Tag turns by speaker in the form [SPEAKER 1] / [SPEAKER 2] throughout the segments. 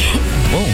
[SPEAKER 1] Wow.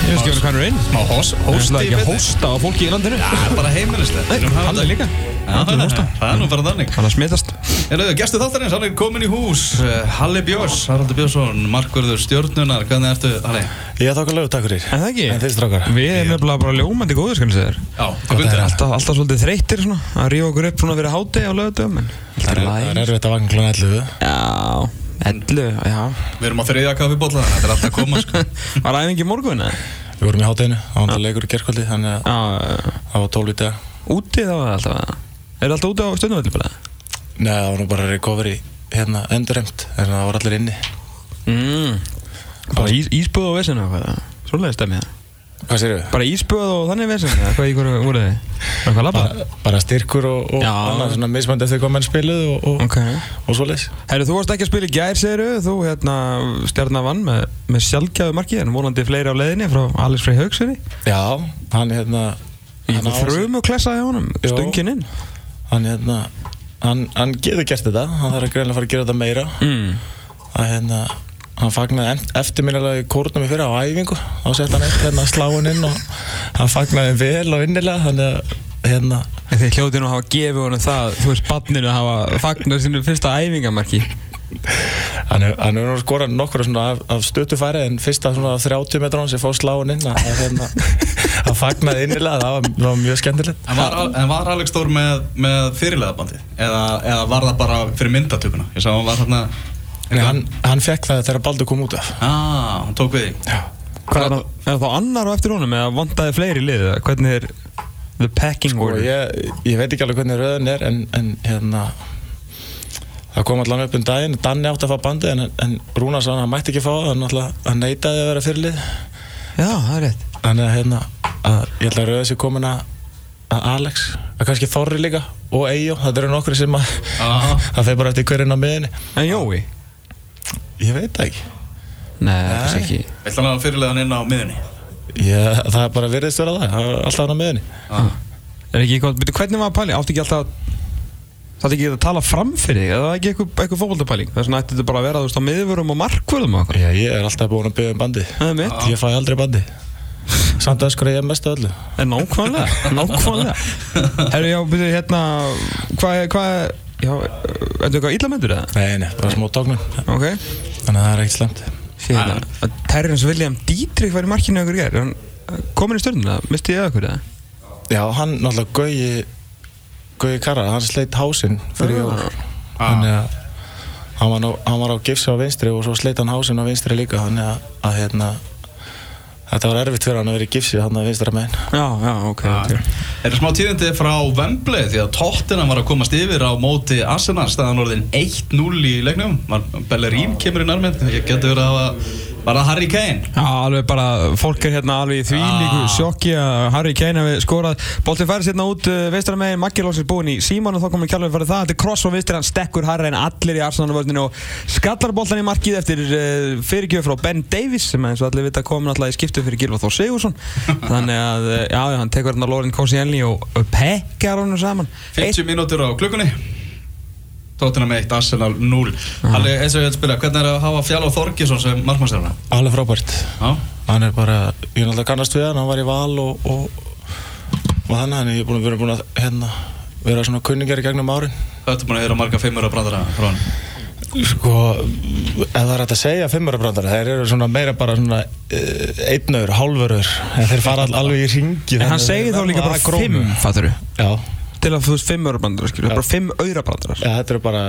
[SPEAKER 1] Ég veist ekki hvernig hann er inn.
[SPEAKER 2] Má hos-
[SPEAKER 1] Það er
[SPEAKER 2] hósti
[SPEAKER 1] ekki að hósta á fólki í landinu.
[SPEAKER 2] Það er bara heimilislegt Við erum að hafa
[SPEAKER 1] Hann
[SPEAKER 2] þetta-
[SPEAKER 1] er líka.
[SPEAKER 2] Já,
[SPEAKER 1] Hann er að hósta.
[SPEAKER 2] Það er nú bara þannig
[SPEAKER 1] Hann er að smitast.
[SPEAKER 2] Erðu, gæstu þáttarins, hann er komin í hús Eh, Halli Björns, Haraldur Björnsson, markverður stjórnunar Hvernig ertu, Halli?
[SPEAKER 3] Ég þakka lögu, takk fyrir.
[SPEAKER 1] En það ekki?
[SPEAKER 3] En þeir strákar.
[SPEAKER 1] Við erum nefnilega bara ljómandi góður, skanum segja þér.
[SPEAKER 2] Já, hvað
[SPEAKER 3] er allt.
[SPEAKER 1] Alltaf, alltaf svolítið þreyttir svona, að rífa okkur upp svona fyrir hátegi á lögutöfum, en
[SPEAKER 3] Það er, það er erfitt að vakna klón 11.
[SPEAKER 1] Já, ellu, já.
[SPEAKER 2] Við erum á þriðja kaffibólla, þetta er alltaf að koma sko.
[SPEAKER 1] Var æfing í morgun, eða?
[SPEAKER 3] Við vorum í hátæginu, það var það leikur í gerkvöldi, þannig að
[SPEAKER 1] Já,
[SPEAKER 3] það var 12 í dag.
[SPEAKER 1] úti þá var það alltaf, eða? Er það alltaf úti á stjórnumöldu bara?
[SPEAKER 3] Nei, það var nú bara recovery hérna endurremt, þannig að það var allir inni.
[SPEAKER 1] Mm. Bara ís, ísbúð og vesina, hvað? Svoleiðist stemmi það.
[SPEAKER 3] Hvað sér við?
[SPEAKER 1] Bara ísbúð og þannig vesina, eða hvað í hverju voru þið? Var eitthvað labbað?
[SPEAKER 3] Bara, bara styrkur og, og
[SPEAKER 1] Já.
[SPEAKER 3] annað, svona mismönd eftir hvað menn spiluðu og, og,
[SPEAKER 1] Ok.
[SPEAKER 3] og svoleiðis.
[SPEAKER 1] Herru, þú varst ekki að spila í gær, segiru, þú hérna stjarnar vann með, með sjálfgjáðu marki, en vonandi fleiri á leiðinni frá Alex Frey Haugseri.
[SPEAKER 3] Já, hann hérna...
[SPEAKER 1] Ég
[SPEAKER 3] á-
[SPEAKER 1] þrjum og klessaði honum,
[SPEAKER 3] Jó.
[SPEAKER 1] stöngin inn.
[SPEAKER 3] Hann hérna... Hann, hann getur gert þetta, hann þarf að greinlega að fara að gera þetta meira.
[SPEAKER 1] Mm.
[SPEAKER 3] að hérna hann fagnaði eftirminnilega í kórnum í fyrra á æfingu og sett hann eitt hérna sláinn inn og hann fagnaði vel og innilega þannig að hérna
[SPEAKER 1] En Þið hljótið nú að hafa gefið honum það, þú veist, banninu að hafa fagnar sinu fyrsta æfingamarki.
[SPEAKER 3] hann hefur hann hefur nú skorað nokkru svona af, af stötufæri en fyrsta svona 30 metra hann sem fór sláinn inn að að hérna hann fagnaði innilega það var, það var mjög skemmtilegt
[SPEAKER 2] en, var, en var Alex Þór með, með fyrirleðabandi? Eða, eða var það bara fyrir myndatökuna? Ég sá hann var þarna
[SPEAKER 3] Nei, hann, hann fekk það þegar Baldur kom út af
[SPEAKER 2] Ah, hann tók við því
[SPEAKER 1] Hvað er, það- er þá annar á eftir honum eða vantaði fleiri lið? eða Hvernig er the packing
[SPEAKER 3] og
[SPEAKER 1] order?
[SPEAKER 3] ég, ég veit ekki alveg hvernig röðin er en, en hérna það kom allan upp um daginn, Danni átti að fá bandið en, en Rúnar sá hann, hann mætti ekki fá það hann, náttúrulega- hann neitaði að vera fyrirlið
[SPEAKER 1] Já, það er rétt.
[SPEAKER 3] þannig að hérna að, ég ætla að röða sér komin að að Alex, að kannski Þorri líka og Eyjó, það eru nokkri sem að
[SPEAKER 2] Aha.
[SPEAKER 3] það fer bara eftir hverjum á miðinni
[SPEAKER 1] En Jói?
[SPEAKER 3] ég veit það ekki
[SPEAKER 1] Nei, það er kannski ekki.
[SPEAKER 2] Vilt hann hafa fyrirleðan inn á miðunni?
[SPEAKER 3] ég, það er bara virðist vera það, það er alltaf hann á miðinni
[SPEAKER 1] Hm.
[SPEAKER 2] Ah.
[SPEAKER 1] Er ekki eitthvað, betur hvernig var pæling? Áttu ekki alltaf að, það ekki að tala fram fyrir þig? Eða það ekki eitthvað, eitthvað fókvöldapæling? Þess vegna ætti þetta bara að vera, þú veist, á miðvörum og markvöldum og okkur.
[SPEAKER 3] Já, ég er alltaf búin að byggja um bandið
[SPEAKER 1] Það er mitt.
[SPEAKER 3] ég fæ aldrei bandið samt að skora ég mest af öllu
[SPEAKER 1] En nákvæmlega, nákvæmlega. Herru, já, betur, hérna, hvað, hvað, já, er þetta eitthvað illamendur eða?
[SPEAKER 3] Nei, nei, bara smá tóknum
[SPEAKER 1] Ok.
[SPEAKER 3] Þannig að það er ekkert slemt
[SPEAKER 1] Hérna, að Terrence William Dietrich var í markinu okkur gerð, hann uh, komin í stjórnuna, misti ég okkur það?
[SPEAKER 3] Já, hann náttúrulega Gauji Gauji Karra, hann sleitt hásinn fyrir jól Þannig að hann var, á, hann var á gifsi á vinstri og svo sleitt hann hásinn á vinstri líka Þannig að, að hérna Þetta var erfitt fyrir hann að vera í gifsi hann að vinstra megin
[SPEAKER 1] Já, já, ok.
[SPEAKER 2] Er það smá tíðindi frá Wembley því að tóttina var að komast yfir á móti Arsenal staðan orðin 1-0 í leiknum Var- Bellerín kemur inn armend ég getur verið að hafa var það Harry Kane
[SPEAKER 1] Já, alveg bara, fólk er hérna alveg í því líku
[SPEAKER 2] Ah.
[SPEAKER 1] sjokki að Harry Kane hefði skorað Boltið færið hérna út uh, veistra megin Maggi Lóksins búin í síman og þá komum við kjálfur fyrir það Þetta er kross og veistra hann stekkur Harry en allir í Arsenalvörninu og skallar boltan í markið eftir uh, fyrirgjöf frá Ben Davies sem eins og allir vita kom náttúrulega í skiptu fyrir Gilvar Þór Sigursson Þannig að, uh, já, já, hann tekur hérna Lorin Kosienli og pekkar honum saman
[SPEAKER 2] 50 mínútur á klukkunni tóttina með 1, Arsenal 0 Halli, eins og ég vil spila, hvernig er að hafa Fjall og Þorgesson sem markmannstjárna?
[SPEAKER 3] Alveg frábært
[SPEAKER 2] Já,
[SPEAKER 3] Hann er bara, ég er náttúrulega kannast við hann, hann var í val og, og, og þannig Þannig að ég er búin að vera búin að hérna, vera svona kunningar í gegnum árin
[SPEAKER 2] hvað ertu búin að heyra marga fimmur að brandara frá hann?
[SPEAKER 3] Sko, ef það er hægt að segja fimmurabrandara, þeir eru svona meira bara svona uh, einnöður, hálfurur en þeir fara all, alveg í ringi
[SPEAKER 1] En hann segir þá líka bara fimm, fattur
[SPEAKER 3] Já,
[SPEAKER 1] Til að þú veist fimm örabrandarar, skilur, bara fimm aurabrandarar
[SPEAKER 3] ja, þetta eru bara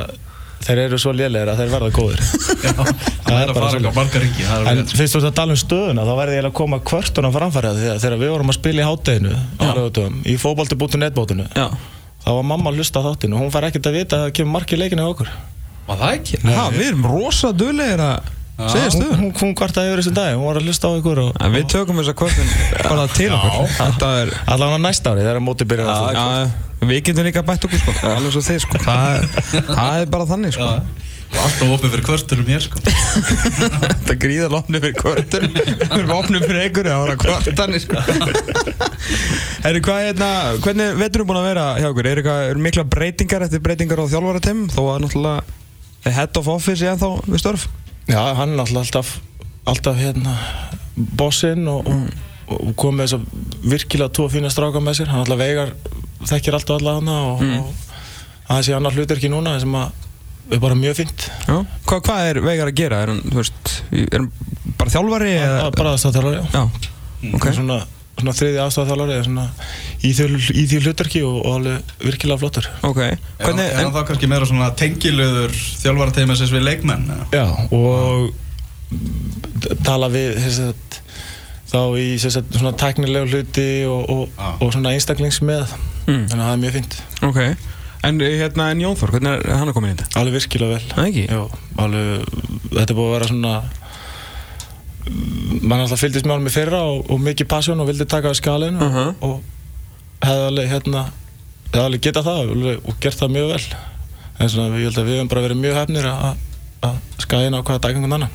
[SPEAKER 3] þeir eru svo lélegir að þeir verða góðir
[SPEAKER 2] Já, það er að fara ekki
[SPEAKER 3] bara
[SPEAKER 2] á
[SPEAKER 3] svoleiðis.
[SPEAKER 2] marga ringi það er
[SPEAKER 3] En
[SPEAKER 2] alveg-
[SPEAKER 3] fyrst þú ert að tala um stöðuna þá verði ég eiginlega að koma kvörtunum framfærið þegar, þegar við vorum að spila í hátteginu á
[SPEAKER 1] Já.
[SPEAKER 3] lögutum, í fótbolti.netbótinu
[SPEAKER 1] Já,
[SPEAKER 3] þá var mamma að hlusta á þáttinu og hún fær ekkert að vita að það kemur mark í leikinu á okkur
[SPEAKER 2] Var það ekki?
[SPEAKER 1] ha, við erum rosa duðlegir að segja
[SPEAKER 3] hún,
[SPEAKER 1] stöðu
[SPEAKER 3] hún, hún kvartaði yfir þessum dag, hún var að hlusta á ykkur og,
[SPEAKER 1] En við tökum þessa kvöldin bara til okkur Þetta er,
[SPEAKER 3] Allavega næsta ári þegar móti byrjar að
[SPEAKER 1] já, við getum líka bætt okkur sko Alveg svo þið sko, það er, það er bara þannig sko
[SPEAKER 2] Alltaf opið fyrir kvörtunum hér sko
[SPEAKER 1] Þetta gríðar lofnum fyrir kvörtur Við erum opnum fyrir ykkur Það voru að kvörtanir sko. Herru, hvað er hérna Hvernig veturum búin að vera hjá ykkur? Er eitthvað, eru mikla breytingar eftir breytingar á þjálfarateim Þó að náttúrulega er Head of Office ég ennþá við störf
[SPEAKER 3] Já, hann er náttúrulega alltaf, alltaf hérna bossinn og, og, og kom með þess að virkilega tvo fína stráka með sér hann alltaf veigar, þekkir allt og alla hana og, mm. og að þessi annar hlutur ekki núna sem að er bara mjög fínt
[SPEAKER 1] Já. Hva, hvað er Veigar að gera? Er hann, þú veist, er hann bara þjálfari?
[SPEAKER 3] það
[SPEAKER 1] eða-
[SPEAKER 3] er bara aðstæðarþjálfari já.
[SPEAKER 1] Já,
[SPEAKER 2] Mm,
[SPEAKER 1] ok.
[SPEAKER 3] okay. svona, svona þriði aðstæðarþjálfari eða svona í því- í því hlutarki og, og alveg virkilega flottur
[SPEAKER 1] Ok,
[SPEAKER 2] Er hann,
[SPEAKER 1] hvernig,
[SPEAKER 2] er hann
[SPEAKER 1] en,
[SPEAKER 2] þá kannski meira svona tengilöður þjálfarateimessins við leikmenn? eða?
[SPEAKER 3] Já, og t- tala við sem sagt, þá í sem sagt, svona tæknilega hluti og, og,
[SPEAKER 2] Já.
[SPEAKER 3] og svona einstaklingsmeð
[SPEAKER 1] Mm.
[SPEAKER 3] þannig að það er mjög fínt,
[SPEAKER 1] ok, en eh, hérna, en Jónþór, hvernig er hann að koma í þetta?
[SPEAKER 3] alveg virkilega vel
[SPEAKER 1] Það ekki?
[SPEAKER 3] Já, alveg, þetta er búið að vera svona mann alltaf fylgdist með honum í fyrra og, og mikið passion og vildi taka af skalinu
[SPEAKER 1] Mhm.
[SPEAKER 3] og, og hefði alveg hérna hefði alveg getað það alveg, og gert það mjög vel en svona, ég held að við höfum bara verið mjög hefnir að að skæðina á hvaða dagengun annan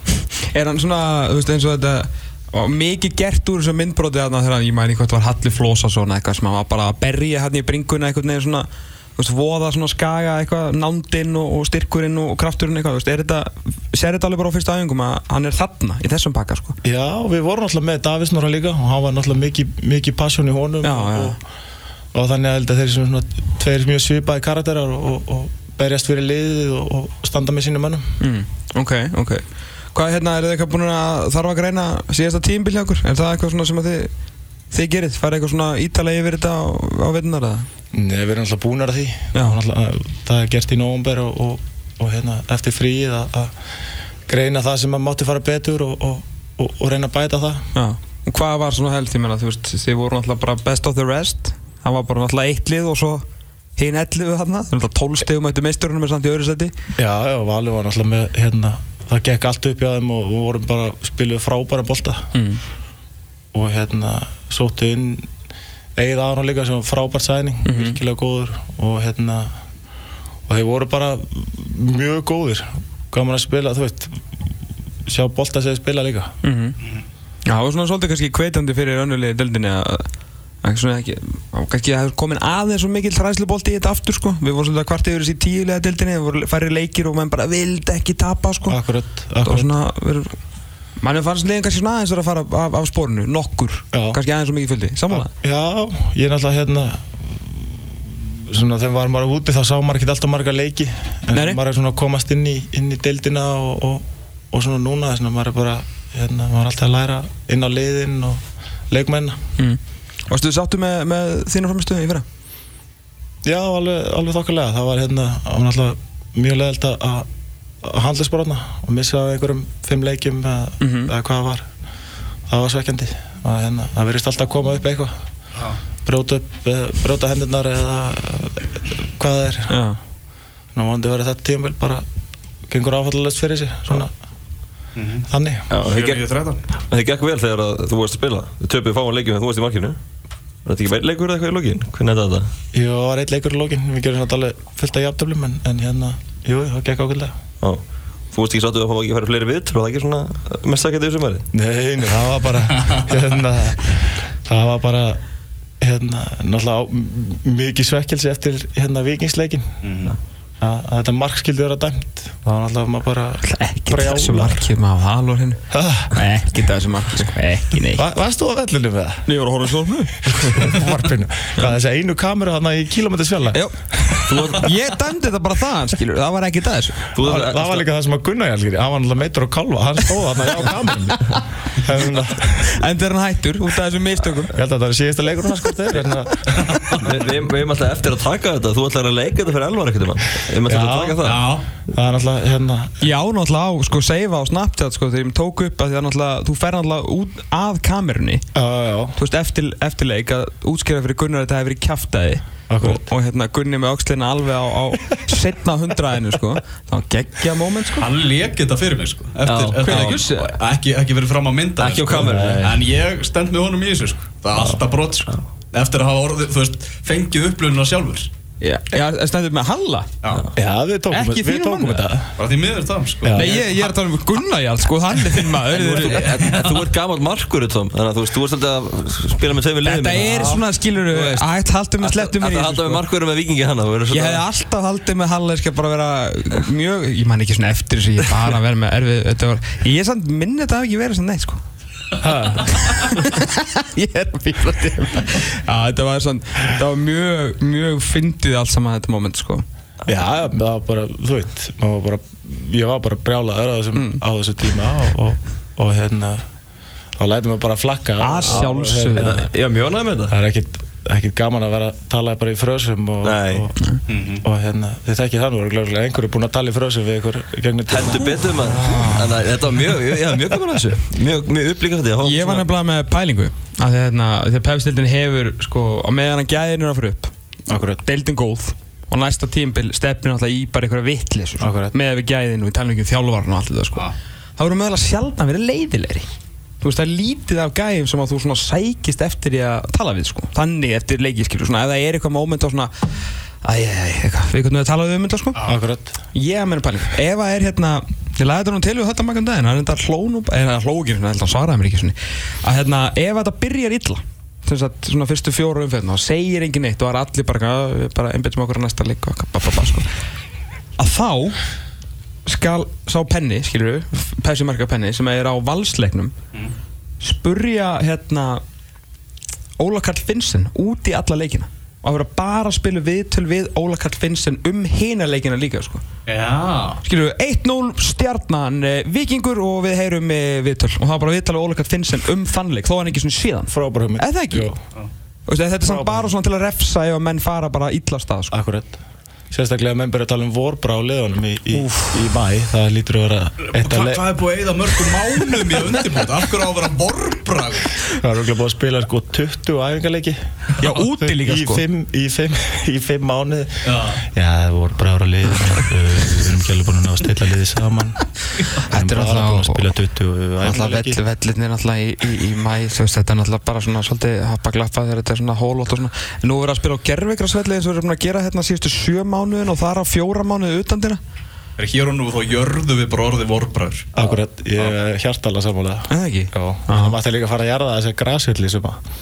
[SPEAKER 1] Er hann svona, þú veist, eins og þetta og mikið gert úr þessu myndbroti þarna þegar ég mæni hvað þetta var Halli Flósason eða eitthvað sem hann var bara að berja hann í bringuna eitthvað neginn svona, þú veist, voða svona skaga eitthvað, nándinn og, og styrkurinn og, og krafturinn eitthvað, þú veist, er þetta sér þetta alveg bara á fyrsta æfingum að hann er þarna í þessum pakka, sko
[SPEAKER 3] Já, við vorum alltaf með Davís Norra líka og hann var náttúrulega mikið miki passion í honum
[SPEAKER 1] Já,
[SPEAKER 3] og,
[SPEAKER 1] já.
[SPEAKER 3] Og, og þannig að ég held að þeir sem svona, tveir mjög svipaði karakterar og, og, og berjast fyrir liðið og, og standa með sínum mönnum
[SPEAKER 1] mm, Ok, ok Hvað, hérna, eru þið eitthvað búin að þarf að greina síðasta tímbil hjá okkur? Er það eitthvað svona sem að þið, þið gerið? Farið eitthvað svona ítalega yfir þetta á, á vinnar eða?
[SPEAKER 3] Nei, við erum alltaf búnar að því
[SPEAKER 1] Já.
[SPEAKER 3] alltaf, Það er gert í nóvumber og, og, og hérna, eftir fríið að- að greina það sem maður mátti fara betur og, og, og, og reyna að bæta það
[SPEAKER 1] Já, og hvað var svona helst, ég meina, þú veist, þið voru náttúrulega bara best of the rest Það var bara náttúrulega eitt lið og svo hinn 11 þarna Það er náttúrulega 12 stegum eftir meisturunum er samt í öðru seti
[SPEAKER 3] Já, já, Valur var náttúrulega með hérna, það gekk allt upp hjá þeim og við vorum bara spiluð frábæra bolta
[SPEAKER 1] mm.
[SPEAKER 3] og hérna sóttu inn Egið Aron líka sem var frábært sæning,
[SPEAKER 1] Mhm.
[SPEAKER 3] virkilega góður og hérna og þeir voru bara mjög góðir gaman að spila, þú veit sjá bolta sem þeir spila líka
[SPEAKER 1] Mhm. Já, það var svona svolítið kannski kveitandi fyrir önnulegi döldinni að að Svona ekki, að kannski að það er komin aðeins svo mikil træslubolti í þetta aftur sko Við vorum svona kvart yfir þessi tíulega dildinni, það voru færri leikir og menn bara vildi ekki tapa sko
[SPEAKER 3] Akkurat,
[SPEAKER 1] Það var
[SPEAKER 3] akkurat
[SPEAKER 1] svona, verið, mannum fannst liðin kannski svona aðeins vera að fara af, af sporinu, nokkur
[SPEAKER 3] Já.
[SPEAKER 1] Kannski aðeins svo mikið fylgdi, samanlega
[SPEAKER 3] Já, ég er náttúrulega hérna svona þegar maður var úti þá sá maður ekki alltaf marga leiki en
[SPEAKER 1] Nei, nei.
[SPEAKER 3] maður er svona að komast inn í, inn í deildina og, og, og svona núna svona, maður er bara, hérna, maður er alltaf að læra inn á liðin og leikmenn
[SPEAKER 1] Mm. Varstu þið sáttu með, með þínu framistöðu í fyrra?
[SPEAKER 3] Já, alveg, alveg þokkalega. Það var hérna, það var náttúrulega mjög leðilt að að handla sporana og missa af einhverjum fimm leikjum eða,
[SPEAKER 1] Mhm.
[SPEAKER 3] eða hvað það var. Það var svekkjandi. Það, hérna, það verðist alltaf að koma upp eitthvað. Brjóta upp, eða brjóta hendurnar eða eh, hvað það er.
[SPEAKER 1] Já.
[SPEAKER 3] Nú vandi verið þetta tíumvel bara gengur áfallalegt fyrir sig, svona þannig.
[SPEAKER 4] Já, það gekk-
[SPEAKER 2] 49-13
[SPEAKER 4] það gekk vel þegar að þú varst að spila Þið töpuðu fáan leikjum en þú varst í markinu Var þetta ekki verið leikur eða eitthvað í lokin? Hvernig er þetta?
[SPEAKER 3] Jú, það var eitt leikur í lókin, við gerum þetta alveg fullt af jafntöflum en, en hérna, jú, það gekk ákveldlega.
[SPEAKER 4] Já, þú varst ekki sáttu að fá ekki að fara í fleiri vitur og það ekki svona eh, mest sækjandi í sumari
[SPEAKER 3] Nei, nei, það var bara hérna, það var bara hérna, náttúrulega á- m- mikið svekkelsi eftir hérna vikingsleikin Mhm. að að þetta mark skildi vera dæmt það var náttúrulega maður bara
[SPEAKER 1] Ekki
[SPEAKER 3] brjálar.
[SPEAKER 1] þessu markið maður af halvor hennu
[SPEAKER 3] Ha,
[SPEAKER 4] Ah.
[SPEAKER 1] Ekki þessu markið sko. Ekki nei
[SPEAKER 3] va- Varst þú á vellinu með það?
[SPEAKER 4] Ég var að horfa í sólnu
[SPEAKER 3] Varpinu Hvað þessi einu kameru þarna í kílómetri svjalla
[SPEAKER 1] Jó, ég dæmdi þetta bara það, skilur, það var ekki þessu
[SPEAKER 4] Þú
[SPEAKER 3] Það það var líka það sem að Gunnar Jálgir Hann var náttúrulega meitur á kalva Hann stóð þarna á kamerunni Þannig að
[SPEAKER 1] En þegar hann hættur út af þessum mistökum
[SPEAKER 3] Ég hérna, held að þetta er hérna, síðasta leikurinn hans hvort þeir
[SPEAKER 4] Við við eigum alltaf eftir að taka þetta Þú ætlar að leika þetta fyrir elvar ekkert um hann Við eigum alltaf
[SPEAKER 3] Já,
[SPEAKER 4] að taka það
[SPEAKER 2] Já,
[SPEAKER 3] Það er náttúrulega hérna
[SPEAKER 1] Já, náttúrulega á, sko, seifa á Snapchat, sko, þegar ég tók upp að því að náttúrulega, þú fer náttúrulega út að kamerunni
[SPEAKER 3] Já, já, já
[SPEAKER 1] Þú veist, eftir, eftirleik að útskýra fyrir Gunnar að þetta hefur verið kjaftaði og,
[SPEAKER 3] Akkurat.
[SPEAKER 1] og hérna Gunni með öxlina alveg á, á setna hundraðinu, sko Það var geggja moment, sko
[SPEAKER 2] hann lék þetta fyrir mig sko eftir,
[SPEAKER 4] Já,
[SPEAKER 2] eftir
[SPEAKER 4] hvenær
[SPEAKER 2] ekki,
[SPEAKER 4] gjössi það?
[SPEAKER 2] ekki, ekki verið fram á mynda
[SPEAKER 4] Ekki á
[SPEAKER 2] sko.
[SPEAKER 4] kamerunni. Nei.
[SPEAKER 2] En ég stend með honum í þessu sko Það er alltaf brot sko Eftir að hafa orðið, þú veist, fengið upplununa sjálfur
[SPEAKER 1] Já, það stendur með Halla
[SPEAKER 2] Já
[SPEAKER 3] Já, við tókum,
[SPEAKER 1] Ekki
[SPEAKER 3] við
[SPEAKER 1] þínum
[SPEAKER 3] tókum
[SPEAKER 1] manni?
[SPEAKER 3] þetta
[SPEAKER 2] Bara því miður það sko
[SPEAKER 3] Já.
[SPEAKER 1] Nei, ég, ég er að tala um Gunnar Jarl, sko, hann er þinn maður
[SPEAKER 4] Þú ert-
[SPEAKER 1] Þetta
[SPEAKER 4] en- en Þú ert gammal markur Tom Þannig að þú veist, þú ert alltaf að spila með tveimur liðum
[SPEAKER 1] er svona, skilur
[SPEAKER 4] Þú veist.
[SPEAKER 1] ætt haldum með slettum
[SPEAKER 4] Þetta
[SPEAKER 1] mér í
[SPEAKER 4] halda
[SPEAKER 1] þessu,
[SPEAKER 4] með
[SPEAKER 1] sko.
[SPEAKER 4] markurum með vikingi hana þú verður
[SPEAKER 1] Ég
[SPEAKER 4] svona-
[SPEAKER 1] hefði alltaf haldið með Hallerskja bara vera mjög, ég man ekki svona eftir þessu, ég bara verið með erfið, þetta var, ég samt minni þetta hafi ekki verið sem neitt, sko. Ég er að fíla þetta Já, þetta var svona, þetta var mjög, mjög fyndið allt saman þetta moment, sko
[SPEAKER 3] Já, það var bara, þú veit, maður var bara, ég var bara brjálaður á þessum, á þessum tíma og, og, og hérna, þá lætum við bara flakka.
[SPEAKER 1] Að sjálfsögðu.
[SPEAKER 3] Hérna,
[SPEAKER 4] Ég var mjög ánægð með þetta
[SPEAKER 3] Það er ekkit, ekkit gaman að vera að tala bara í frösum og,
[SPEAKER 4] Nei.
[SPEAKER 3] og, og, hérna, þið þekkið þannig, voru glæðilega einhverju búin að tala í frösum við ykkur gegnum tíma.
[SPEAKER 4] Heldur betur maður Þannig að þetta var mjög, ég var mjög gaman að þessu Mjög, mjög upplíkandi
[SPEAKER 1] Ég var nefnilega með pælingu af því að hérna, því að pepsdildin hefur sko, á meðan að gæðin er að fara upp
[SPEAKER 3] Akkurat.
[SPEAKER 1] deildin góð og næsta tímbil stefnir alltaf í bara einhverja vittlis
[SPEAKER 3] Akkurat.
[SPEAKER 1] með við gæðin og við talum ekki um þjálfarn og allt þetta sko.
[SPEAKER 2] Ah.
[SPEAKER 1] það voru mögulega sjaldan verið leiðilegri þú veist það er lítið af gæðum sem að þú svona sækist eftir í að tala við sko. þannig eftir leikiskilur svona ef það er eitthvað moment á svona æj, æj, eitthvað, við hvernig við talaðum um þetta sko
[SPEAKER 3] Akkurat.
[SPEAKER 1] Ég að meina pæling Ef að er hérna Ég laði þetta nú til við þetta makkum daginn Hann er þetta hlónu En hann hló ekki svona Þannig að hann svaraði mér ekki svona Að hérna Ef þetta byrjar illa Sem sagt svona fyrstu fjóru umferðin Og það segir engin neitt Og það er allir bara eitthvað, "Já, Við bara einbjöndum okkur að næsta leik Og eitthvað, ba, ba, ba, sko. Að þá Skal sá penni Skilur við Pessi marka penni Sem er á valsleiknum Spurja hérna Óla Karl Finnsen út í alla leikina og að vera bara að spila viðtöl við Óla Karl Finnsen um hina leikina líka sko.
[SPEAKER 2] Já
[SPEAKER 1] skilur við, 1-0 stjarnan eh, vikingur og við heyrum eh, viðtöl og það var bara viðtöl við Óla Karl Finnsen um þannleik þó er hann ekki svona síðan
[SPEAKER 3] Frábæra hugmynd.
[SPEAKER 1] eða það ekki?
[SPEAKER 3] Jú.
[SPEAKER 1] Þú Veist, þetta er samt bara svona til að refsa ef að menn fara bara illa af stað sko.
[SPEAKER 3] Akkurat Sérstaklega að menn byrja að tala um vorbra á liðunum í, í, í mæ Það lítur að vera eitt
[SPEAKER 2] Hva,
[SPEAKER 3] að leið
[SPEAKER 2] Hvað er búið að eyða mörgum mánum í undirbútt? Af hverju á að vera vorbrag?
[SPEAKER 3] Það er okkur búið að spila sko 20 æfingarleiki
[SPEAKER 1] Já, úti líka,
[SPEAKER 3] í
[SPEAKER 1] sko.
[SPEAKER 3] fimm, í, fimm, í fimm mánuði
[SPEAKER 2] Já.
[SPEAKER 3] það voru bara ára lið uh, Við erum ekki alveg búin að ná að stilla liði saman Við erum
[SPEAKER 1] Þetta er
[SPEAKER 3] bara
[SPEAKER 1] náttúrulega-
[SPEAKER 3] búin að spila 20
[SPEAKER 1] Alltaf
[SPEAKER 3] æfingarleiki
[SPEAKER 1] vell, vellirnir alltaf í, í, í mæ þú veist, þetta er alltaf bara svona svolítið happa glappa þegar þetta er svona hólótt og svona en nú verður að spila á gerfigrasvelli eins og við erum búin að gera hérna síðustu sjö mánuðin og þar á fjóra mánuði utandina
[SPEAKER 2] Er hér og nú þá jörðu við bara orðið vorbragur
[SPEAKER 3] Akkurat, ég er hjartala sammála
[SPEAKER 1] eða ekki?
[SPEAKER 3] Já, það mætti líka að fara að jarða þessi grashulli sem að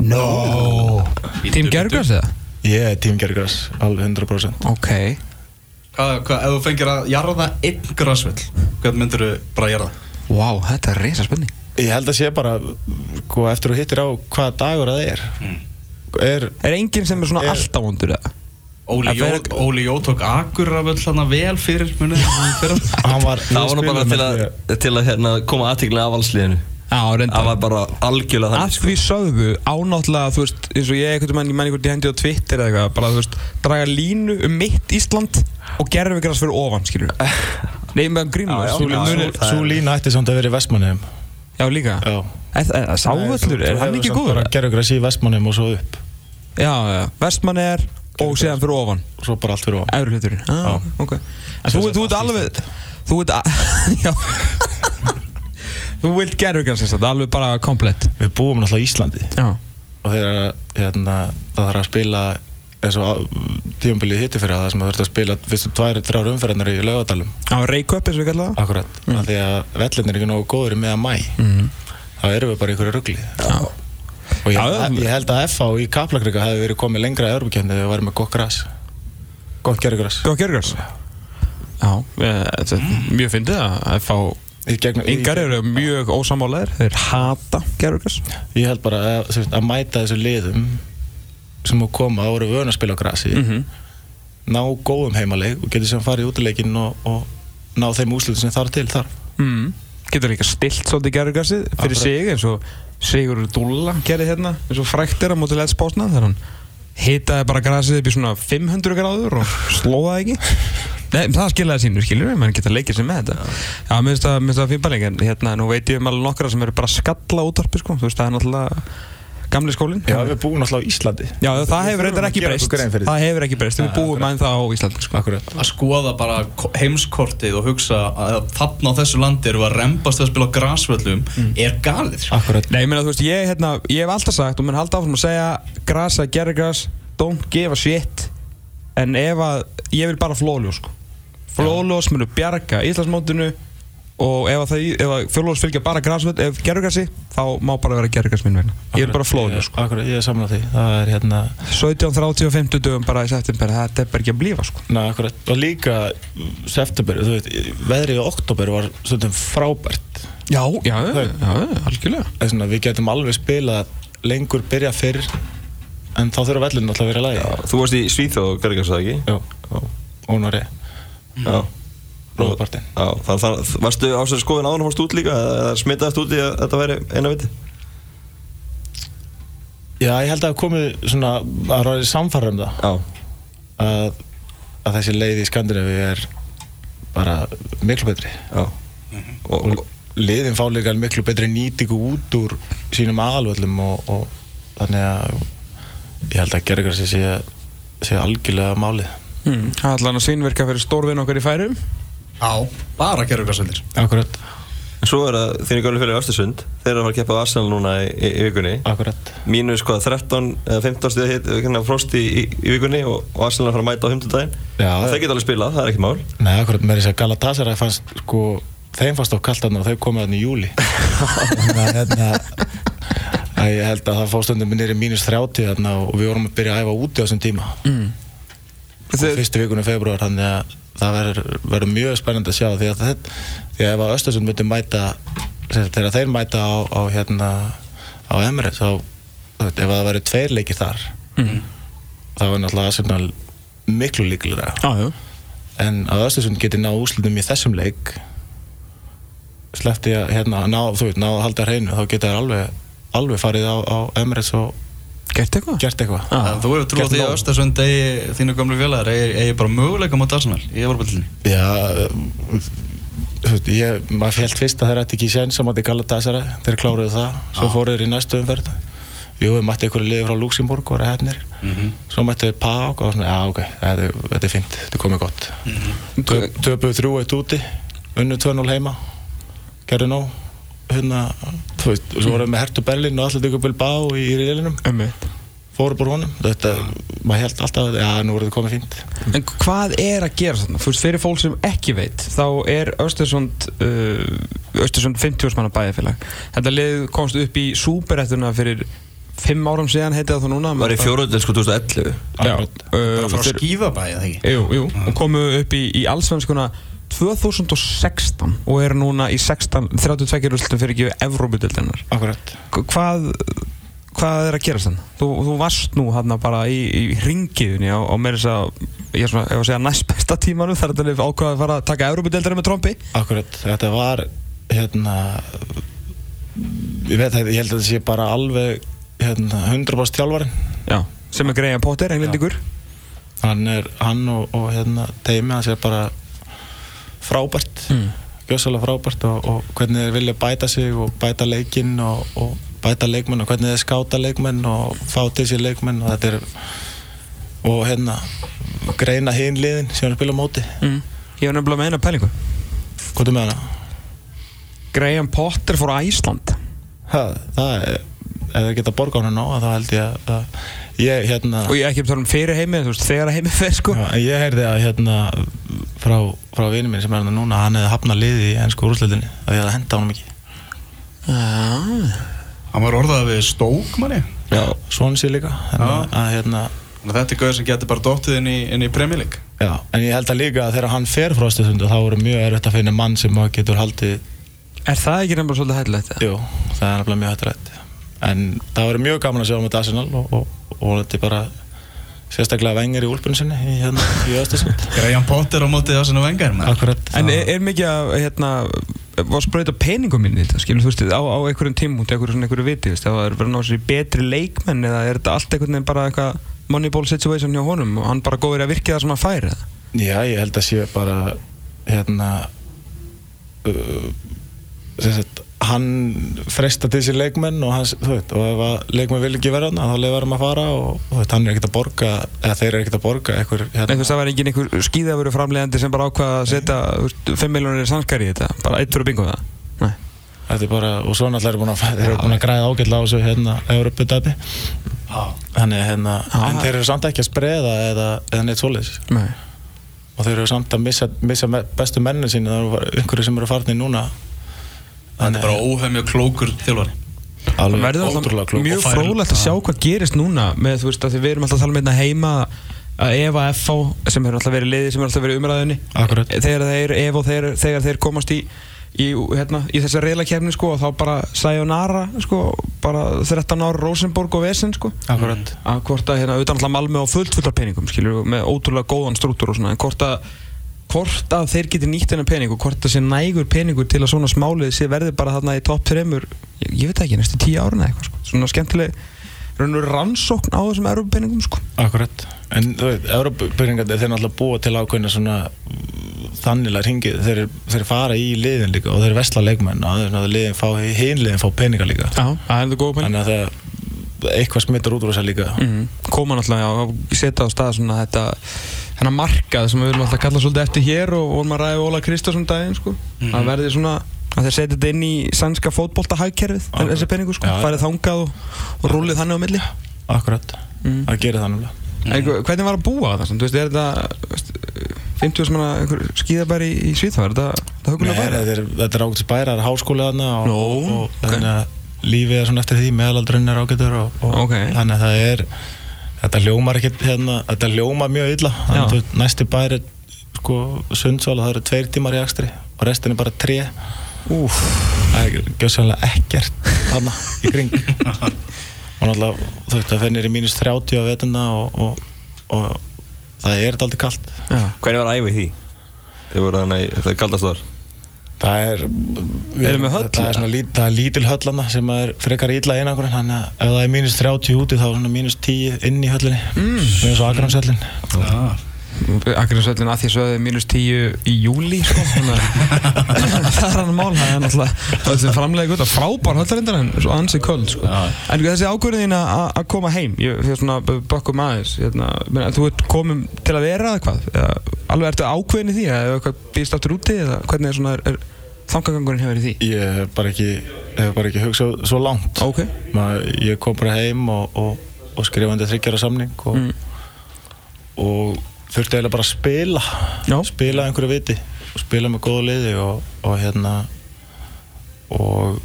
[SPEAKER 1] No Tím
[SPEAKER 2] Bíddu,
[SPEAKER 1] gerfgras eða?
[SPEAKER 3] Ég er tímgergras, alveg 100%
[SPEAKER 1] Ok
[SPEAKER 2] Hvað, hvað, ef þú fengir að jarða einn grasvöll Hvernig myndir þú bara jarða?
[SPEAKER 1] Wow, þetta er reysa spenning
[SPEAKER 3] Ég held að sé bara, sko, eftir þú hittir á hvaða dagur það er
[SPEAKER 1] Mm.
[SPEAKER 3] Er,
[SPEAKER 1] Er enginn sem er svona
[SPEAKER 3] Er-
[SPEAKER 1] alltaf vondur eða?
[SPEAKER 2] Óli
[SPEAKER 1] Að
[SPEAKER 2] Jó,
[SPEAKER 1] vera-
[SPEAKER 2] Óli Jó tók Akuravöll hana vel fyrir munið
[SPEAKER 3] hann var
[SPEAKER 4] Það var nú bara til að, til að hérna, koma aðtíkla af allsliðinu
[SPEAKER 1] Já,
[SPEAKER 4] Það
[SPEAKER 1] reynda
[SPEAKER 4] var bara algjörlega
[SPEAKER 1] Að
[SPEAKER 4] þannig sko.
[SPEAKER 1] því sögðu ánáttlega, þú veist, eins og ég einhvern veginn, ég menn einhvern veginn hendi á Twitter eða eitthvað, bara, þú veist, draga línu um mitt Ísland og gerfi græs fyrir ofan, skilur Nei, meðan grínum,
[SPEAKER 4] Já, já,
[SPEAKER 1] skilur
[SPEAKER 4] já,
[SPEAKER 1] já,
[SPEAKER 4] svo-
[SPEAKER 3] Sú lína ætti samt að vera í Vestmannheim
[SPEAKER 1] já, líka
[SPEAKER 3] Já.
[SPEAKER 1] Eð- eð- eð- Sávöllur, er hann ekki góður? eða?
[SPEAKER 3] Gerður græs í Vestmannheim og svo upp
[SPEAKER 1] Já, já, Vestmann er og síðan fyrir ofan
[SPEAKER 3] og svo bara allt fyrir ofan
[SPEAKER 1] Efri hluturinn ah, okay. En þú, þú ert alveg Þú ert a- Já Þú vilt gerðurgan sem sagt Alveg bara komplett
[SPEAKER 3] Við búum náttúrulega í Íslandi
[SPEAKER 1] Já
[SPEAKER 3] og þegar hérna, það þarf að spila eins og tíumbilið hitti fyrir það sem það þurfti að spila fyrstu tværi, þrjár umferðinar í laugadalum
[SPEAKER 1] Á reykjöp eins og við kallar
[SPEAKER 3] Akkurat, mm. því að vellin er ekki nógu góður með að mæ
[SPEAKER 1] Mhm.
[SPEAKER 3] mm. þá erum við bara í einhverju ruggli
[SPEAKER 1] það Já
[SPEAKER 3] og
[SPEAKER 1] Já,
[SPEAKER 3] ég,
[SPEAKER 1] já.
[SPEAKER 3] ég held að FH í Kaplakrika hefði verið komið lengra að Örbukjöfni þegar við varum með gott græs gott gerðugræs
[SPEAKER 1] Góð gerðurgan Já eh, Þetta er mjög fyndið að fá Yngar eru mjög ósamálaðir Þeir hata gerðurgas
[SPEAKER 3] Ég held bara að, sem sagt, að mæta þessu liðum sem að koma og eru vöna að spila á grasi
[SPEAKER 1] Mhm.
[SPEAKER 3] ná góðum heimaleik og getur sem farið í útileikin og, og ná þeim úslutum sem þarf til þar
[SPEAKER 1] mm. Getur líka stilt svolítið gerðurgasið Fyrir
[SPEAKER 3] Akkurat.
[SPEAKER 1] sig eins og Sigur Dúlla gerði hérna eins og frækt er að móti let's bósna Þegar hann hitaði bara grasið upp í svona 500 gráður og slóðaði ekki Nei, það skiljaði sínu, skiljur við, mann geta leikið sér með þetta Já, mér finnst það, mér finnst það fín bæling En hérna, nú veit ég um alveg nokkra sem eru bara að skalla útvarpi, sko Þú veist, það er náttúrulega gamli skólinn
[SPEAKER 3] Já, við búum alltaf á Íslandi
[SPEAKER 1] Já, það hefur reyndar ekki
[SPEAKER 3] Við þurfum að gera okkur
[SPEAKER 1] breyst
[SPEAKER 3] grein fyrir
[SPEAKER 1] Það hefur ekki breyst, við búum aðeins það á Íslandi, sko
[SPEAKER 3] Akkurat
[SPEAKER 2] Að skoða bara ko- heimskortið og hugsa að þarna á þessu landi erum við að rembast við að spila á grasvöllum
[SPEAKER 3] Mm.
[SPEAKER 2] er galið sko.
[SPEAKER 3] Akkurat
[SPEAKER 1] Nei, ég meina, þú veist, ég, hérna, ég hef alltaf sagt og menn halda áfram að segja gras að gera gras, don't give a shit en ef að, ég vil bara flóljós sko. flóljós munu bjarga Íslandsmótinu og ef að, það- ef að flóljós fylgja bara grasvöld ef gerurgrasi, þá má bara vera gerurgras mín vegna, ég vil bara flóljós sko.
[SPEAKER 3] Ég- Akkurat, ég er saman á því Það er hérna
[SPEAKER 1] 17, 30 og 50 dögum bara í september þetta er bara ekki að blífa sko.
[SPEAKER 3] Nei, akkurat Og líka mm, september, þú veit Veðrið í oktober var stundum frábært
[SPEAKER 1] Já, já, já, já, algjörlega
[SPEAKER 3] Það er svona, við getum alveg spilað lengur, byrja fyrr en þá þurfa vellinu alltaf að vera í lagi
[SPEAKER 4] Þú varst í Svíþjóð og Gargars, það ekki?
[SPEAKER 3] Já, og Nóri
[SPEAKER 1] Mm.
[SPEAKER 4] Já.
[SPEAKER 3] Nóri partinn
[SPEAKER 4] Já, þannig þannig, varstu á þessari skoðin áður og fórst út líka, eða eða smitaðist út í að þetta væri eina viti?
[SPEAKER 3] Já, ég held að hafi komið svona að ráðið samfara um það
[SPEAKER 4] Já,
[SPEAKER 3] að, að þessi leið í Skandinavíu er bara miklu betri
[SPEAKER 4] já. Og,
[SPEAKER 3] og
[SPEAKER 4] og,
[SPEAKER 3] liðin fá líka miklu betri nýtingu út úr sínum aðalvöllum og, og þannig að ég held að Gergar sé, sé, sé algjörlega málið
[SPEAKER 1] Hmm, Það er allan að sínverka fyrir stórvinn okkar í færum
[SPEAKER 2] Já, bara gerur hvað sendir
[SPEAKER 3] Akkurat,
[SPEAKER 4] en svo er það þínu gönnum fyrir Östersund, þeir eru að fara að keppa á Arsenal núna í, í, í vikunni.
[SPEAKER 3] akkurat
[SPEAKER 4] Mínus hvað, 13 sko, eða 15 stíða hitt, hérna frosti í, í, í vikunni og, og Arsenal er að fara að mæta á 15 daginn.
[SPEAKER 3] Já,
[SPEAKER 4] það
[SPEAKER 3] já.
[SPEAKER 4] geta alveg spilað, það er ekkert mál.
[SPEAKER 3] Nei, akkurat, með þess að Galatasaray fannst sko, þeim fannst á kaltan og þau komið hann í júli þannig að hérna að ég held að það fór stundum niður í mínus 30 þarna og við vorum að byrja að æfa úti á þessum tíma mm.
[SPEAKER 4] Þeir-
[SPEAKER 3] fyrstu vikunum februar þannig að það verður- verður mjög spennandi að sjá því að, þetta- því að ef að Östersund myndi mæta sem sagt, þegar þeir mæta á, á hérna á Emirates þá, þú veit, ef að það verður tveir leikir þar
[SPEAKER 1] Hmm.
[SPEAKER 3] þá er náttúrulega Arsenal miklu líklega
[SPEAKER 1] Já, já
[SPEAKER 3] en að Östersund geti náð úslitum í þessum leik sleppti að hérna, ná, þú veit, ná að halda hreinu þá geta þær alveg, alveg farið á, á Emirates og
[SPEAKER 1] Gert eitthvað?
[SPEAKER 3] gert eitthvað
[SPEAKER 1] Já.
[SPEAKER 2] Þú hefur trú á
[SPEAKER 3] Gert
[SPEAKER 2] því
[SPEAKER 3] nóg.
[SPEAKER 2] að Östersund eigi þínu gamlu félagar eigi, eigi bara möguleika mot Arsenal í Evropaldinni
[SPEAKER 3] Já, þú veit, ég, maður fjöld fyrst að þeir ætti ekki sén sem að þið kalla þessara, þeir kláruðu það svo fóruðu þeir í næstu umferð Jú, við mætti einhverju liði frá Luxemburg og hefnir svo mætti þeir Pák og svona, já ok, þetta er, þetta er fínt, þetta er komið gott mm -hmm. Töpuðu þrjú eitt úti unnu 2-0 heima gerðu nóg hérna, þú veist, og svo voruðu með Hertu Berlin og allir tökum vel bá í, í reilinum
[SPEAKER 1] Ömmið
[SPEAKER 3] fóru bara honum, þetta, maður held alltaf að, já, nú voruðu komið fínt
[SPEAKER 1] En hvað er að gera þarna? Þú veist, fyrir fólk sem ekki veit þá er Östersund uh, Östersund 50 manna bæjarfélag Þetta lið komst upp í súperettuna fyrir 5 árum síðan heitið það þá núna
[SPEAKER 4] Var í sko, fjóruðdelsku 2011.
[SPEAKER 1] Já,
[SPEAKER 2] Það
[SPEAKER 1] uh,
[SPEAKER 2] frá
[SPEAKER 1] þeir,
[SPEAKER 2] skífabæði það ekki
[SPEAKER 1] jú, jú,
[SPEAKER 4] Mm.
[SPEAKER 1] og komu upp í, í allsvenskuna 2016 og eru núna í 16, 32 rústum fyrir ekki Evrópudeldennar
[SPEAKER 3] Akkurat
[SPEAKER 1] hvað, hvað er að gerast þann? Þú, þú varst nú hann bara í, í ringiðunni á, á meira þess að ég er svona, ef að segja næst besta tímanum þar þetta er ákvaðið að fara að taka Európa-deildari með trombi
[SPEAKER 3] Akkurat, þetta var hérna ég veit það, ég held að þetta sé bara alveg hérna, 100% þjálfarinn
[SPEAKER 1] Já, sem er greiðan Potter, englendingur
[SPEAKER 3] hann er, hann og, og hérna teimi hans er bara frábært mm. gjössalega frábært og, og hvernig þeir vilja bæta sig og bæta leikinn og, og bæta leikmenn og hvernig þeir skáta leikmenn og fá til sér leikmenn og þetta er og hérna greina hinn liðin sem hann spila á móti
[SPEAKER 1] mm. Ég var nefnilega með eina pælingu
[SPEAKER 3] hvað er með hana?
[SPEAKER 1] Graham Potter fór á Ísland
[SPEAKER 3] Ha, það er, ef þið geta borga honum nóg þá held ég að ég hérna
[SPEAKER 1] og ég ekki um þarum fyrir heimi, þú veist, þegar heimi fer sko
[SPEAKER 3] já, ég heyrði að hérna frá, frá vinnu minn sem er hérna núna hann hefði hafnað liði í ennsku úrslutinni að ég hefði henda honum ekki
[SPEAKER 1] ah.
[SPEAKER 2] Hann var orðað við stók manni
[SPEAKER 4] Já,
[SPEAKER 3] svona sér líka en,
[SPEAKER 2] Já.
[SPEAKER 3] að, hérna,
[SPEAKER 2] Þannig að Þetta er gauð sem getur bara dottið inn í, inn í Premier League
[SPEAKER 3] já, en ég held að líka að þegar hann fer frá stöðsund þá voru mjög erfitt að finna mann sem maður getur haldið
[SPEAKER 1] Er það ekki nefnilega svolítið hættilegt? eða?
[SPEAKER 3] jú, það er nefnilega mjög hættilegt en það voru mjög gaman að sjá um þetta Arsenal og, og, og þetta er bara sérstaklega vengir í úlpunum sinni í, hérna, í östasund
[SPEAKER 2] Graham Potter á mótið á sinna vengar maður.
[SPEAKER 3] akkurat
[SPEAKER 1] En er, er mikið að, hérna, var spröyt á peningum minni þetta, skilur þú veist, á, á einhverjum tímúti, einhverjum svona einhverju viti, veist, það var verið að ná sér í betri leikmenn eða er þetta allt einhvern veginn bara eitthvað moneyball situation hjá honum og hann bara góður í að virka það sem hann fær eða?
[SPEAKER 3] Já, ég held að sé bara hérna uh, sem sagt, hann fresta til sér leikmenn og, hans, þú veit, og ef að leikmenn vil ekki vera hann þá leifar hann að fara og þú veit, hann er ekkert að borga eða þeir eru ekkert að borga einhver,
[SPEAKER 1] Nei, þú
[SPEAKER 3] hérna,
[SPEAKER 1] veist, það var engin einhver skíðaföru framlegandi sem bara ákvað að setja, þú veist, 5 miljonir sanskar í þetta, bara eitt fyrir bingo það. Nei.
[SPEAKER 3] þetta er bara og svo náttúrulega eru búin að, þeir eru búin að græða ágætla á þessu hérna, Európa-dæti þannig hérna,
[SPEAKER 1] Já.
[SPEAKER 3] en þeir eru samt ekki að spreða eða, eða neitt svoleiðis
[SPEAKER 1] Nei.
[SPEAKER 3] og þeir eru samt að missa, missa me- bestu mennin sín það eru bara einhverju sem eru farnir núna
[SPEAKER 2] Þetta er bara óhemja klókur þjálfari
[SPEAKER 1] Það
[SPEAKER 3] alveg
[SPEAKER 1] verður
[SPEAKER 3] ótrúlega
[SPEAKER 1] alltaf
[SPEAKER 3] klók
[SPEAKER 1] mjög
[SPEAKER 3] og fær-
[SPEAKER 1] frólægt að sjá hvað gerist núna með þú veist að því við erum alltaf að tala með hérna heima að Eva FH sem hefur alltaf verið liðið sem hefur alltaf verið í umræðunni
[SPEAKER 3] Akkúrat.
[SPEAKER 1] þegar þeir, ef og þeir, þegar þeir komast í í, hérna, í þessa reyðlakefni sko og þá bara Sayonara sko, bara 13 ár Rosenborg og Vesen sko
[SPEAKER 3] Akkurat.
[SPEAKER 1] að hvort að hérna auðvitað alltaf Malmö á fullt fullt af peningum skilur með ótrúlega góðan strútur og svona en hvort að hvort að þeir geti nýtt hennar pening og hvort að sé nægur peningur til að svona smálið sé verði bara þarna í topp 3 ég, ég veit það ekki, næstu 10 árin eða eitthvað sko. svona skemmtileg raun og veru rannsókn á þessum eruppeningum sko
[SPEAKER 3] Akkurat. En þú veit, Európa-byrjingarnir þeir náttúrulega búa til ákveðna svona þannilega hringið, þeir, þeir fara í liðin líka og þeir vesla leikmenn og þeir liðin fá, hinn liðin fá peninga líka
[SPEAKER 1] Já, það er þetta góð pening
[SPEAKER 3] þannig að það eitthvað smittar út úr þessa líka
[SPEAKER 1] mm koma náttúrulega og setja á stað svona þetta hennar markað sem við viljum alltaf kalla svolítið eftir hér og vorum að ræða við Óla Kristjáns um daginn sko
[SPEAKER 3] Mhm.
[SPEAKER 1] að verði svona að þeir setja þetta inn í sænska fótbolta hagkerfið
[SPEAKER 3] Akkurat.
[SPEAKER 1] þessi peningur sko,
[SPEAKER 3] Já, já.
[SPEAKER 1] farið þangað og, og rúlið þannig á milli
[SPEAKER 3] Akkurat,
[SPEAKER 1] Mm.
[SPEAKER 3] það gerir það náttúrulega
[SPEAKER 1] mm. hvernig var að búa það, þú veist, er þetta þú veist, 50 sem hana skýðabæri í Svíþá, er þetta þetta hugulega
[SPEAKER 3] Nei,
[SPEAKER 1] bæri?
[SPEAKER 3] þetta er, þetta er ágætis bæra, það er háskóli þarna og,
[SPEAKER 1] Nó,
[SPEAKER 3] og
[SPEAKER 1] ok.
[SPEAKER 3] þannig að lífið er svona eftir því, meðalaldurinn er ágætur og, og
[SPEAKER 1] Ok.
[SPEAKER 3] þannig að það er þetta hljómar ekkert hérna, þetta hljómar mjög illa þannig
[SPEAKER 1] Já.
[SPEAKER 3] að þú veist, næsti bæri er sko sundsvala, það eru tveir tímar í akstri og restin er bara tre
[SPEAKER 1] Úf,
[SPEAKER 3] það er gjössanlega ekkert þarna í kring og náttúrulega þú veist, það fennir í mínus 30 á veturna og, og, og það er þetta aldrei kalt
[SPEAKER 1] já,
[SPEAKER 4] Hvernig var æfið því? Þið voru þannig, það kaldast þar
[SPEAKER 3] Það er,
[SPEAKER 1] Erum við höll,
[SPEAKER 3] það
[SPEAKER 1] eða?
[SPEAKER 3] er, svona, lít, það er lítil höllana sem er frekar illa einangur þannig að ef það er mínus 30 úti þá er svona mínus 10 inn í höllinni mm. mínus akransöllin
[SPEAKER 2] Já.
[SPEAKER 1] Akransvöllin að því sögðu mínus 10 í júli sko, þannig að það er hann mál það er náttúrulega það sem framlega gott frábær höllarindar en svo ansi köld sko. en þessi ákvörðin þín að- að að koma heim ég fyrir svona bakkum aðeins hérna, menn, þú ert komin til að vera eða hvað eða, alveg ertu ákvörðin í því eða hefur eitthvað býst aftur úti eða hvernig er svona er, er, þangagangurinn hefur í því
[SPEAKER 3] ég hef bara ekki, hef bara ekki hugsað svo langt
[SPEAKER 1] ok,
[SPEAKER 3] Maður, ég kom bara heim og, og, og skrifandi þryggjara samning og,
[SPEAKER 1] Mm.
[SPEAKER 3] og þurfti eiginlega bara að spila
[SPEAKER 1] Já.
[SPEAKER 3] spila einhverju viti og spila með góðu liði og, og hérna og,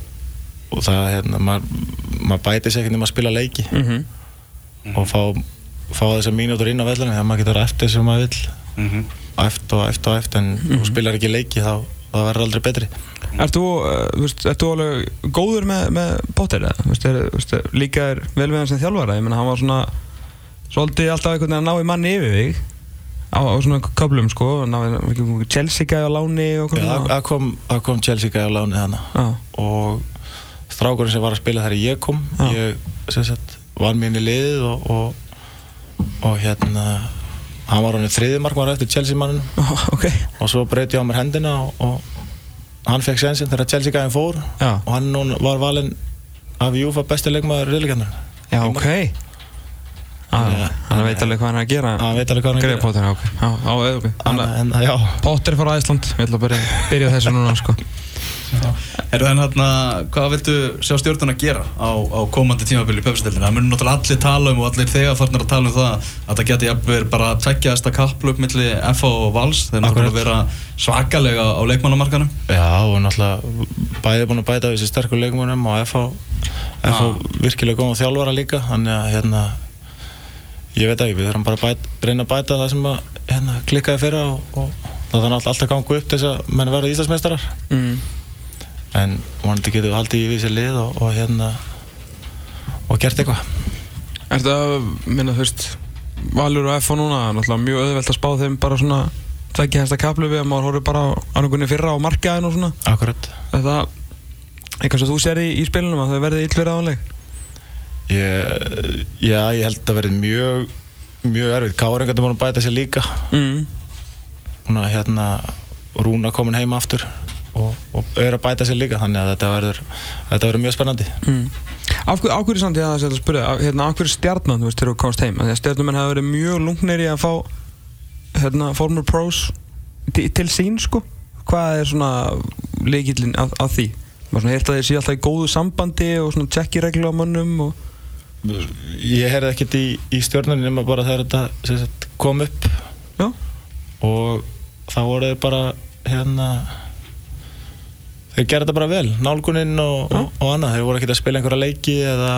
[SPEAKER 3] og það hérna maður mað bæti sér ekki nema að spila leiki
[SPEAKER 1] mm
[SPEAKER 3] og fá, fá þessar mínútur inn á vellinu þegar maður getur eftir sem maður vill
[SPEAKER 2] Mhm.
[SPEAKER 3] eftir og eftir og eftir en þú
[SPEAKER 1] Mm-hmm.
[SPEAKER 3] spilar ekki leiki þá það verður aldrei betri
[SPEAKER 1] Ert þú, uh, veist, ert þú alveg góður með, með Potter eða? Þú Veist, er, þú veist, líka er vel við hann sem þjálfara ég meina hann var svona svolítið alltaf einhvern veginn að ná í manni yfir þig á, á svona köflum sko náði ekki- Chelsea gæði á láni og
[SPEAKER 3] Já,
[SPEAKER 1] hvað
[SPEAKER 3] það
[SPEAKER 1] svona.
[SPEAKER 3] það kom, það kom Chelsea gæði á láni þannig
[SPEAKER 1] Já,
[SPEAKER 3] og strákurinn sem var að spila þegar ég kom
[SPEAKER 1] Já.
[SPEAKER 3] ég sem sagt var mín í liðið og, og, og hérna hann var hann þriði markmaður eftir Chelsea manninu
[SPEAKER 1] Ó, ok
[SPEAKER 3] og svo breyti ég á mér hendina og, og hann fekk sensin þegar Chelsea gæðin fór
[SPEAKER 1] Já.
[SPEAKER 3] og hann núna var valinn af Júfa besti leikmaður reyðleikjarnar
[SPEAKER 1] Já, ok ah,
[SPEAKER 3] Já.
[SPEAKER 1] Hann veit alveg hvað hann er að gera
[SPEAKER 3] hann veit alveg hvað hann
[SPEAKER 1] Greið Potter, já, ok Já, á, ok
[SPEAKER 3] hann,
[SPEAKER 1] Þannig að
[SPEAKER 3] en, hérna, já,
[SPEAKER 1] Potter fór að Ísland Ég ætla að byrja, byrja á þessu núna sko
[SPEAKER 2] Herru, en hérna, hvað viltu sjá stjórnuna gera á, á komandi tímabili í pepsdeldinu? Það munir náttúrulega allir tala um og allir þegar farnar að tala um það að það geti jafnver bara að tekja þetta kapplöp milli FH og Vals þeir náttúrulega vera svakalega á leikmannamarkanum
[SPEAKER 3] já og náttúrulega bæði búin að bæta við þessi sterkur leikmönum og FH, FH virkilega góð og þjálfara líka þannig að hérna ég veit ekki, við þurfum bara að bæta, reyna að bæta það sem að hérna, klikkaði fyrra og, og það þannig alltaf að ganga upp til þess að menn verða Íslandsmeistarar
[SPEAKER 1] mm.
[SPEAKER 3] en vonandi getum við haldið í við sér lið og, og hérna og gert eitthvað
[SPEAKER 1] Er það, minna, þú veist Valur og F og núna, náttúrulega mjög auðvelt að spá þeim bara svona, tveggja hægsta kaplu við að maður horfir bara á annarkunni fyrra á markaðin og svona,
[SPEAKER 3] Akkurat
[SPEAKER 1] er það eitthvað sem þú sér í, í spilunum að þau verði illverið ánleik
[SPEAKER 3] ég, Já, ég held að það verið mjög mjög erfitt, Káringar er búin að bæta sér líka
[SPEAKER 1] mm.
[SPEAKER 3] hún að hérna Rúna komin heim aftur og, og er að bæta sér líka þannig að þetta verður þetta verður mjög spennandi
[SPEAKER 1] Mm. Af hverju, af hverju samt ég að það að spyrja af, hérna, af hverju stjarnan, þú veist, þegar þú komst heim Af því að stjarnumenn hafa verið mjög lungnir í að fá hérna, former pros til, til sín, sko hvað er svona leikillin að, að því? Maður svona heyrt að þeir séu alltaf í góðu sambandi og svona tjekki reglu á mönnum og...
[SPEAKER 3] Ég heyrði ekkert í, í stjórnarni nema bara þegar þetta sem sagt, kom upp
[SPEAKER 1] Já,
[SPEAKER 3] og þá voru þeir bara hérna þeir gerði þetta bara vel, nálguninn og, og, og annað, þeir voru ekkert að spila einhverja leiki eða,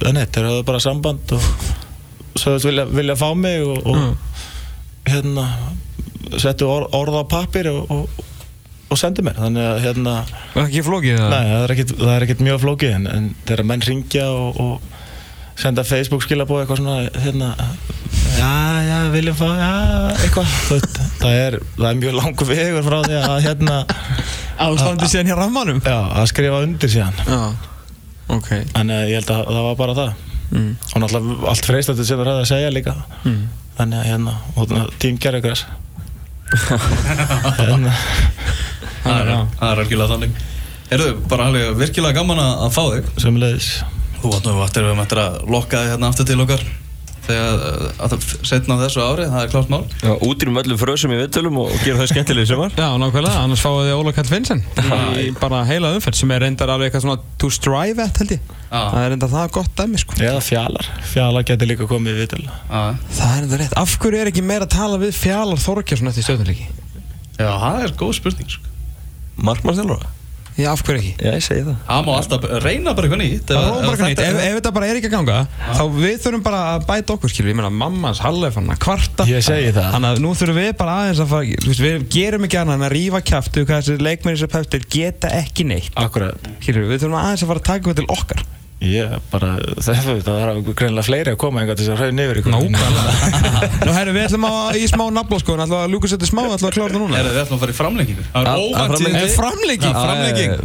[SPEAKER 3] eða neitt, þeir höfðu bara samband og sögðust vilja, vilja fá mig og, og
[SPEAKER 1] Mm.
[SPEAKER 3] hérna settu or, orða á pappir og, og, og sendi mér þannig að hérna
[SPEAKER 1] Var það ekki flókið það?
[SPEAKER 3] Nei, það er ekkit, það er ekkit mjög flókið en, en þegar menn ringja og, og senda Facebook skilabóð eitthvað svona hérna, já, já, viljum fá, já, eitthvað þú veist, það er, það er mjög langur vegur frá því að hérna
[SPEAKER 1] Ástandi síðan hér rammanum?
[SPEAKER 3] já, að skrifa undir síðan
[SPEAKER 1] Já, ok
[SPEAKER 3] en uh, ég held að það var bara það
[SPEAKER 1] mm.
[SPEAKER 3] og náttúrulega allt freistandi sem það ræði að segja líka
[SPEAKER 1] Mm.
[SPEAKER 3] þannig að hérna, og þannig að tím gerði ykkur Hérna, þess
[SPEAKER 2] Það er, það er algjörlega þannig Erðu, bara alveg virkilega gaman að að fá þig
[SPEAKER 3] sömulegis
[SPEAKER 2] Þú vatnum við vatnum við mættir að lokka þig hérna aftur til okkar Þegar, eh, að það setna þessu ári, það er klart mál
[SPEAKER 4] Já, útrýmum öllum frösum í viðtölum og, og gera það skemmtilega í sumar.
[SPEAKER 1] Já, nákvæmlega, annars fáið þið Óla Kall Vinsen í bara heila umferð sem er reyndar alveg eitthvað svona to strive at held ég
[SPEAKER 2] Já.
[SPEAKER 1] Það er reyndar það gott dæmi sko
[SPEAKER 3] eða fjalar, fjalar geti líka komið í vitul
[SPEAKER 2] Já,
[SPEAKER 1] Það er reyndar rétt, af hverju er ekki meira að tala við fjalar Þorkjarsson eftir stjórnuleiki?
[SPEAKER 2] Já, það er góð spurning sko.
[SPEAKER 4] Markmannstjálfara?
[SPEAKER 1] Já, af hverju ekki?
[SPEAKER 4] Já, ég segi það.
[SPEAKER 2] Það má alltaf reyna bara eitthvað nýtt
[SPEAKER 1] Það
[SPEAKER 2] ef-
[SPEAKER 1] er bara
[SPEAKER 2] ef
[SPEAKER 1] neitt,
[SPEAKER 2] þetta-
[SPEAKER 1] ef, ef þetta bara er ekki að ganga þá við þurfum bara að bæta okkur skilur, ég meina mammans Hallef hann að kvarta
[SPEAKER 3] Ég segi það.
[SPEAKER 1] Þannig að nú þurfum við bara aðeins að fara, þú veist, við gerum ekki annað en að rífa kjaftu hvað þessi leikmenni sem peftir geta ekki neitt
[SPEAKER 3] akkurat,
[SPEAKER 1] skilur, við þurfum aðeins að fara að taka eitthvað til okkar
[SPEAKER 3] ég bara það er það er greinilega fleiri að koma einhvern til þess að hraun yfir ykkur
[SPEAKER 1] Nú herru, við ætlum að í smá nafla sko, en ætlum að Lukas þetta smá, ætlum að klára það núna
[SPEAKER 2] Herðu, við ætlum að fara í framlengingu Það er
[SPEAKER 4] Að- að
[SPEAKER 2] óvænt
[SPEAKER 4] framlenging-
[SPEAKER 1] En framlengi
[SPEAKER 2] framlenging